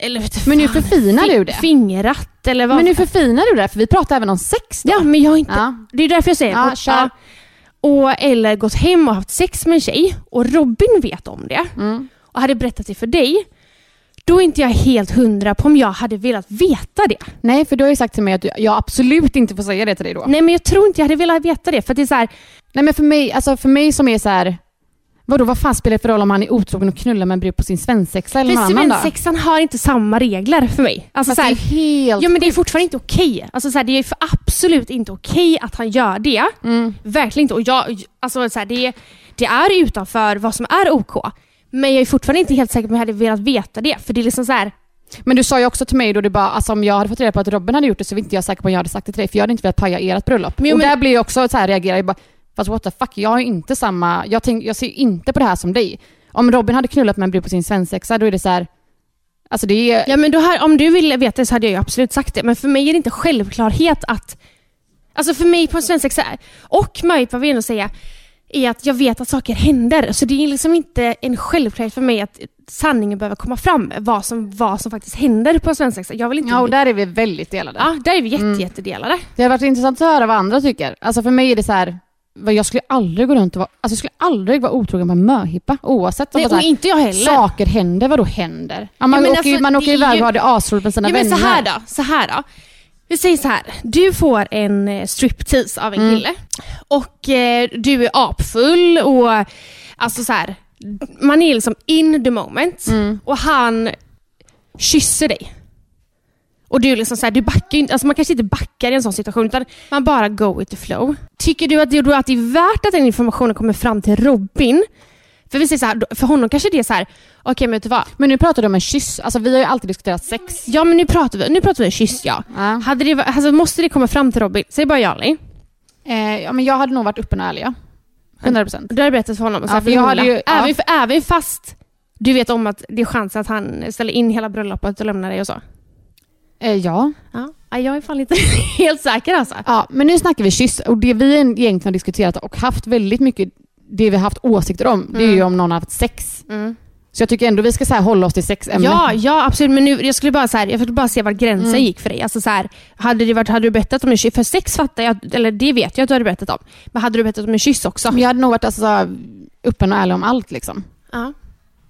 Speaker 4: eller vet du
Speaker 3: Men nu
Speaker 4: fan,
Speaker 3: förfinar du det.
Speaker 4: fingrat eller vad
Speaker 3: Men nu förfinar du det, för vi pratar även om sex då.
Speaker 4: Ja, men jag har inte...
Speaker 3: Ja.
Speaker 4: Det är därför jag säger
Speaker 3: Ja,
Speaker 4: att-
Speaker 3: kör.
Speaker 4: ja. Och, eller gått hem och haft sex med en tjej och Robin vet om det
Speaker 3: Mm.
Speaker 4: och hade berättat det för dig. Då är inte jag helt hundra på om jag hade velat veta det.
Speaker 3: Nej, för du har ju sagt till mig att du, jag absolut inte får säga det till dig då.
Speaker 4: Nej, men jag tror inte jag hade velat veta det. För att det är så här,
Speaker 3: Nej men för mig, alltså för mig som är så här. Vadå, vad fan spelar det för roll om han är otrogen och knullar med en brud på sin svensexa eller någon annan dag?
Speaker 4: sexan har inte samma regler för mig. Alltså,
Speaker 3: Fast
Speaker 4: så här,
Speaker 3: det är helt
Speaker 4: Ja, men det är fortfarande inte okej. Alltså, så här, det är för absolut inte okej att han gör det.
Speaker 3: Mm.
Speaker 4: Verkligen inte. Och jag, alltså, så här, det, det är utanför vad som är OK. Men jag är fortfarande inte helt säker på om jag hade velat veta det. För det är liksom så här,
Speaker 3: Men du sa ju också till mig då, du bara, alltså om jag hade fått reda på att Robin hade gjort det så var inte jag säker på att jag hade sagt det till dig för jag hade inte velat paja ert bröllop.
Speaker 4: Men jo,
Speaker 3: och
Speaker 4: men-
Speaker 3: där blir jag också så här, reagerar jag bara, fast what the fuck, jag har ju inte samma, jag, tänk, jag ser ju inte på det här som dig. Om Robin hade knullat med en brud på sin svensexa då är det så här, alltså det är
Speaker 4: Ja men då här, om du ville veta det så hade jag ju absolut sagt det. Men för mig är det inte självklarhet att... Alltså för mig på en svensexa, och möhippa vill jag nog säga, är att jag vet att saker händer. Så det är liksom inte en självklarhet för mig att sanningen behöver komma fram. Vad som, vad som faktiskt händer på en svensexa. Jag vill inte...
Speaker 3: Ja, och där är vi väldigt delade.
Speaker 4: Ja, där är vi jätte,
Speaker 3: Mm.
Speaker 4: jättedelade.
Speaker 3: Det har varit intressant att höra vad andra tycker. Alltså för mig är det så här, vad jag skulle aldrig gå runt och vara, alltså jag skulle aldrig vara otrogen på en möhippa oavsett. om
Speaker 4: Nej,
Speaker 3: det så
Speaker 4: och
Speaker 3: här,
Speaker 4: inte jag heller.
Speaker 3: Saker händer, vadå händer? Ja, man
Speaker 4: men
Speaker 3: åker, ju-
Speaker 4: alltså,
Speaker 3: man
Speaker 4: det
Speaker 3: åker
Speaker 4: är
Speaker 3: iväg
Speaker 4: ju-
Speaker 3: och har det asroligt med sina
Speaker 4: ja,
Speaker 3: vänner.
Speaker 4: men så här då, så här då. Vi säger så här. Du får en eh, striptease av en
Speaker 3: Mm.
Speaker 4: kille och eh, du är apfull och alltså så här. Man är liksom in the moment
Speaker 3: Mm.
Speaker 4: och han kysser dig. Och du är liksom så här, du backar ju inte, alltså man kanske inte backar i en sån situation utan man bara go with the flow. Tycker du att det, att det är värt att den informationen kommer fram till Robin? För vi säger så här, för honom kanske det är så här, okej men vet du vad?
Speaker 3: Men nu pratar du om en kyss. Alltså vi har ju alltid diskuterat sex.
Speaker 4: Ja men nu pratar vi, nu pratar vi kyss ja.
Speaker 3: Ja.
Speaker 4: Hade det, va- alltså, måste det komma fram till Robin? Säg bara ja eller nej.
Speaker 3: Eh, ja, men jag hade nog varit öppen och ärlig. ja. 100 procent.
Speaker 4: Du har jag berättat för honom. Och så
Speaker 3: Ja,
Speaker 4: här,
Speaker 3: för jag
Speaker 4: Jola.
Speaker 3: hade ju- ja.
Speaker 4: även, för, även fast du vet om att det är chans att han ställer in hela bröllopet och lämnar dig och så.
Speaker 3: Eh, ja.
Speaker 4: Ja, Ja, jag är fan inte helt säker alltså.
Speaker 3: ja. Men nu snackar vi kyss. Och det vi egentligen har diskuterat och haft väldigt mycket, det vi har haft åsikter om, det är
Speaker 4: Mm.
Speaker 3: ju om någon har haft sex. Så jag tycker ändå vi ska så här hålla oss till sexämnet.
Speaker 4: Ja, ja absolut. Men nu, jag skulle bara, så här, jag skulle bara se var gränsen
Speaker 3: Mm.
Speaker 4: gick för dig. Alltså, så här, hade, det varit, hade du berättat om en kyss, för sex fattar jag, eller det vet jag att du hade berättat om. Men hade du berättat om en kyss också?
Speaker 3: Men Jag hade nog varit alltså, så här öppen och ärlig om allt. Liksom.
Speaker 4: Ja.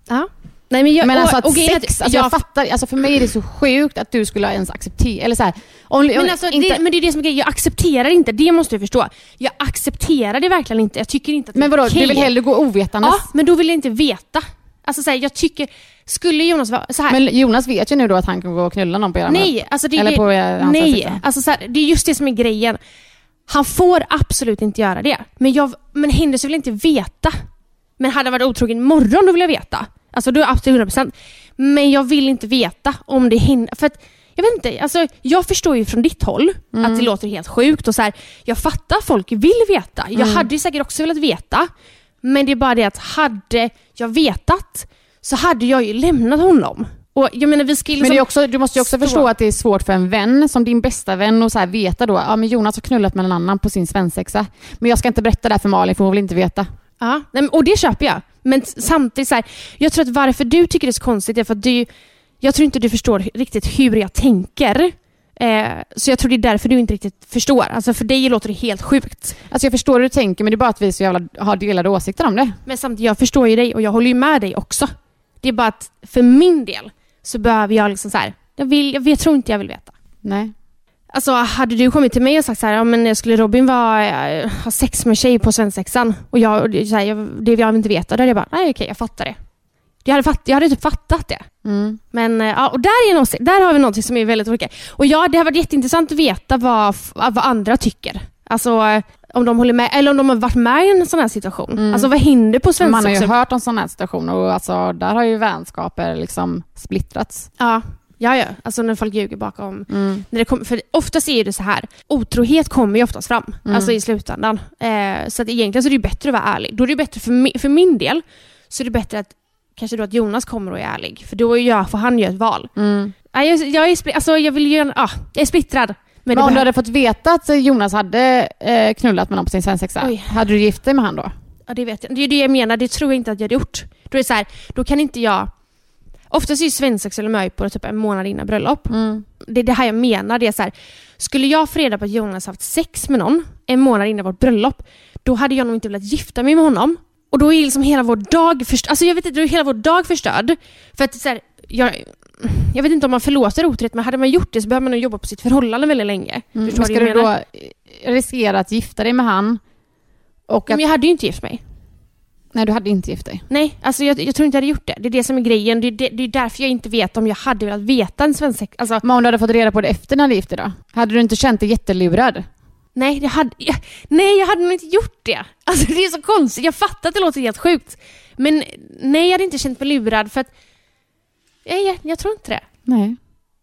Speaker 4: ja. Nej, men jag,
Speaker 3: Men
Speaker 4: och-
Speaker 3: alltså att
Speaker 4: och grejen är
Speaker 3: sex, alltså, jag, fattar, alltså för mig är det så sjukt att du skulle ens acceptera... Eller så här, om, om,
Speaker 4: Men, alltså,
Speaker 3: inte,
Speaker 4: det, men det är det som är grejen. Jag accepterar inte. Det måste du förstå. Jag accepterar det verkligen inte. Jag tycker inte att det
Speaker 3: men vadå,
Speaker 4: är okej.
Speaker 3: du vill hellre gå ovetandes?
Speaker 4: Ja, men då vill jag inte veta. Alltså så här, jag tycker... Skulle Jonas vara så här...
Speaker 3: Men Jonas vet ju nu då att han kan gå och knulla någon på era
Speaker 4: nej,
Speaker 3: möten.
Speaker 4: alltså det är
Speaker 3: Eller
Speaker 4: det,
Speaker 3: på eh, hans
Speaker 4: Nej,
Speaker 3: svensexa.
Speaker 4: alltså så här, det är just det som är grejen. Han får absolut inte göra det. Men, jag, men händelser vill jag inte veta. Men hade han varit otrogen imorgon, då vill jag veta. Alltså då är jag absolut 100%. Men jag vill inte veta om det händer. För att, jag vet inte, alltså, jag förstår ju från ditt håll att det
Speaker 3: Mm.
Speaker 4: låter helt sjukt. Och så här, jag fattar att folk vill veta. Jag
Speaker 3: Mm.
Speaker 4: hade ju säkert också velat veta. Men det är bara det att hade jag vetat så hade jag ju lämnat honom. Och jag menar, vi ska ju
Speaker 3: Men
Speaker 4: liksom
Speaker 3: det är också, du måste ju också
Speaker 4: stå-
Speaker 3: förstå att det är svårt för en vän, som din bästa vän, att så här veta då ja, men Jonas har knullat med en annan på sin svensexa. Men jag ska inte berätta det här för Malin, för hon vill inte veta.
Speaker 4: Ja, nej, men- och det köper jag. Men s- samtidigt, så här, jag tror att varför du tycker det är så konstigt är för att du, jag tror inte du förstår riktigt hur jag tänker. Eh, så jag tror det är därför du inte riktigt förstår. Alltså för dig låter det helt sjukt.
Speaker 3: Alltså jag förstår hur du tänker men det är bara att vi så jävla har delade åsikter om det.
Speaker 4: Men samtidigt, jag förstår ju dig och jag håller ju med dig också. Det är bara att för min del så behöver jag liksom så här, jag, vill, jag, jag tror inte jag vill veta.
Speaker 3: Nej.
Speaker 4: Alltså hade du kommit till mig och sagt så här, ja men skulle Robin vara, eh, ha sex med en tjej på svensexan och jag, och det- så här, jag, det jag vill inte veta, då hade jag bara, nej okej jag fattar det. Jag hade, fatt, jag hade typ fattat det.
Speaker 3: Mm.
Speaker 4: Men eh, ja, och där, är någonting, där har vi någonting som är väldigt olika. Och ja, det har varit jätteintressant att veta vad, f- vad andra tycker. Alltså eh, om de håller med, eller om de har varit med i en sån här situation. Alltså vad händer på
Speaker 3: Mm. Man har ju
Speaker 4: svensexan?
Speaker 3: hört om sådana här situationer och alltså, där har ju vänskaper liksom splittrats. Mm.
Speaker 4: Ja, ja, ja. Alltså när folk ljuger bakom. När det kommer, för oftast är det så här, otrohet kommer ju oftast fram. Alltså i slutändan. Eh, så att egentligen så är det ju bättre att vara ärlig. Då är det ju bättre för, mi- för min del, så är det bättre att kanske då att Jonas kommer och är ärlig. För då är jag, får han göra ett val. Ja, jag, jag, är, spli- alltså, jag, vill ju, ja, jag är splittrad. Men,
Speaker 3: Men om
Speaker 4: det
Speaker 3: du
Speaker 4: behöver-
Speaker 3: hade fått veta att Jonas hade eh, knullat med någon på sin svensexa,
Speaker 4: Oj.
Speaker 3: hade du gift dig med han då?
Speaker 4: Ja, det vet jag. Det är det jag menar. Det tror jag inte att jag hade gjort. Då är det så här, då kan inte jag... Oftast är ju svensexa eller möhippor typ en månad innan bröllop.
Speaker 3: Mm.
Speaker 4: Det är det här jag menar. Det är så här, skulle jag få reda på att Jonas haft sex med någon en månad innan vårt bröllop, då hade jag nog inte velat gifta mig med honom. Och då är liksom hela vår dag förstörd. Alltså jag vet inte, då är hela vår dag förstörd. För att så här, jag, jag vet inte om man förlåter otrohet, men hade man gjort det så behöver man nog jobba på sitt förhållande väldigt länge.
Speaker 3: Mm. Men
Speaker 4: Förstår
Speaker 3: ska
Speaker 4: du vad
Speaker 3: du
Speaker 4: jag menar?
Speaker 3: då eh, riskera att gifta dig med han? Och att,
Speaker 4: Men jag hade ju inte gift mig.
Speaker 3: Nej, du hade inte gift dig.
Speaker 4: Nej, alltså jag, jag tror inte jag hade gjort det. Det är det som är grejen. Det är, det, det är därför jag inte vet om jag hade velat veta en svensexa. Alltså,
Speaker 3: Men om du hade fått reda på det efter när du hade gift dig då? Hade du inte känt dig jättelurad?
Speaker 4: nej, det hade, jag, nej, jag hade nog inte gjort det. Alltså, det är så konstigt. Jag fattar att det låter helt sjukt. Men nej, jag hade inte känt mig lurad för att... Nej, jag, jag tror inte det.
Speaker 3: Nej.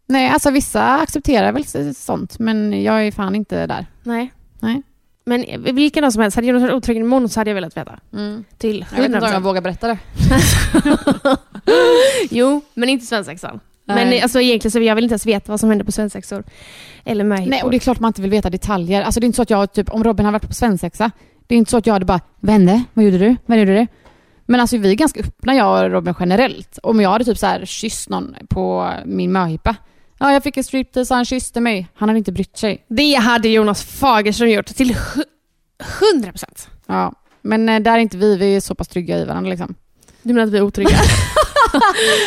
Speaker 3: Nej, alltså vissa accepterar väl sånt, men jag är fan inte där.
Speaker 4: Nej.
Speaker 3: Nej.
Speaker 4: Men eh, vilken dag som helst, hade jag varit otrogen imorgon så hade jag velat veta. Till
Speaker 3: Mm. Jag vet inte om jag
Speaker 4: 100%.
Speaker 3: vågar berätta det.
Speaker 4: Jo, men inte svensexan.
Speaker 3: Nej.
Speaker 4: Men eh, alltså, egentligen så vill jag väl inte ens veta vad som händer på svensexor. Eller möhippor.
Speaker 3: Nej, och det är klart man inte vill veta detaljer. Alltså det är inte så att jag, typ, om Robin hade varit på svensexa, det är inte så att jag hade bara, vad hände? Vad gjorde du? Vad gjorde du? Men alltså vi är ganska öppna jag och Robin generellt. Om jag hade typ så här kysst någon på min möhippa. Ja, jag fick en striptease, han kysste mig. Han hade inte brytt sig.
Speaker 4: Det hade Jonas Fagerström gjort till hu- 100%.
Speaker 3: Ja. Men eh, där är inte vi, vi är så pass trygga i varandra liksom.
Speaker 4: Du menar att vi är otrygga?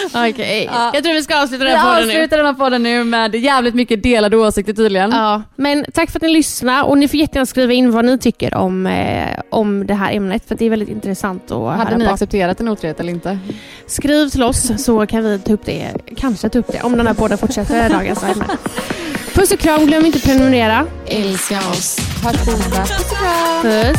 Speaker 4: Okej. Jag tror vi ska avsluta den här podden nu.
Speaker 3: den här podden nu med jävligt mycket delade åsikter tydligen.
Speaker 4: Ja, men tack för att ni lyssnade och ni får jättegärna skriva in vad ni tycker om, eh, om det här ämnet för att det är väldigt intressant att
Speaker 3: Hade
Speaker 4: höra
Speaker 3: ni
Speaker 4: på.
Speaker 3: accepterat en otrohet eller inte?
Speaker 4: Skriv till oss så kan vi ta upp det, kanske ta upp det om den här podden fortsätter dagens ämne. Puss och kram, glöm inte att prenumerera.
Speaker 3: Älska oss. Varsågoda.
Speaker 4: Puss.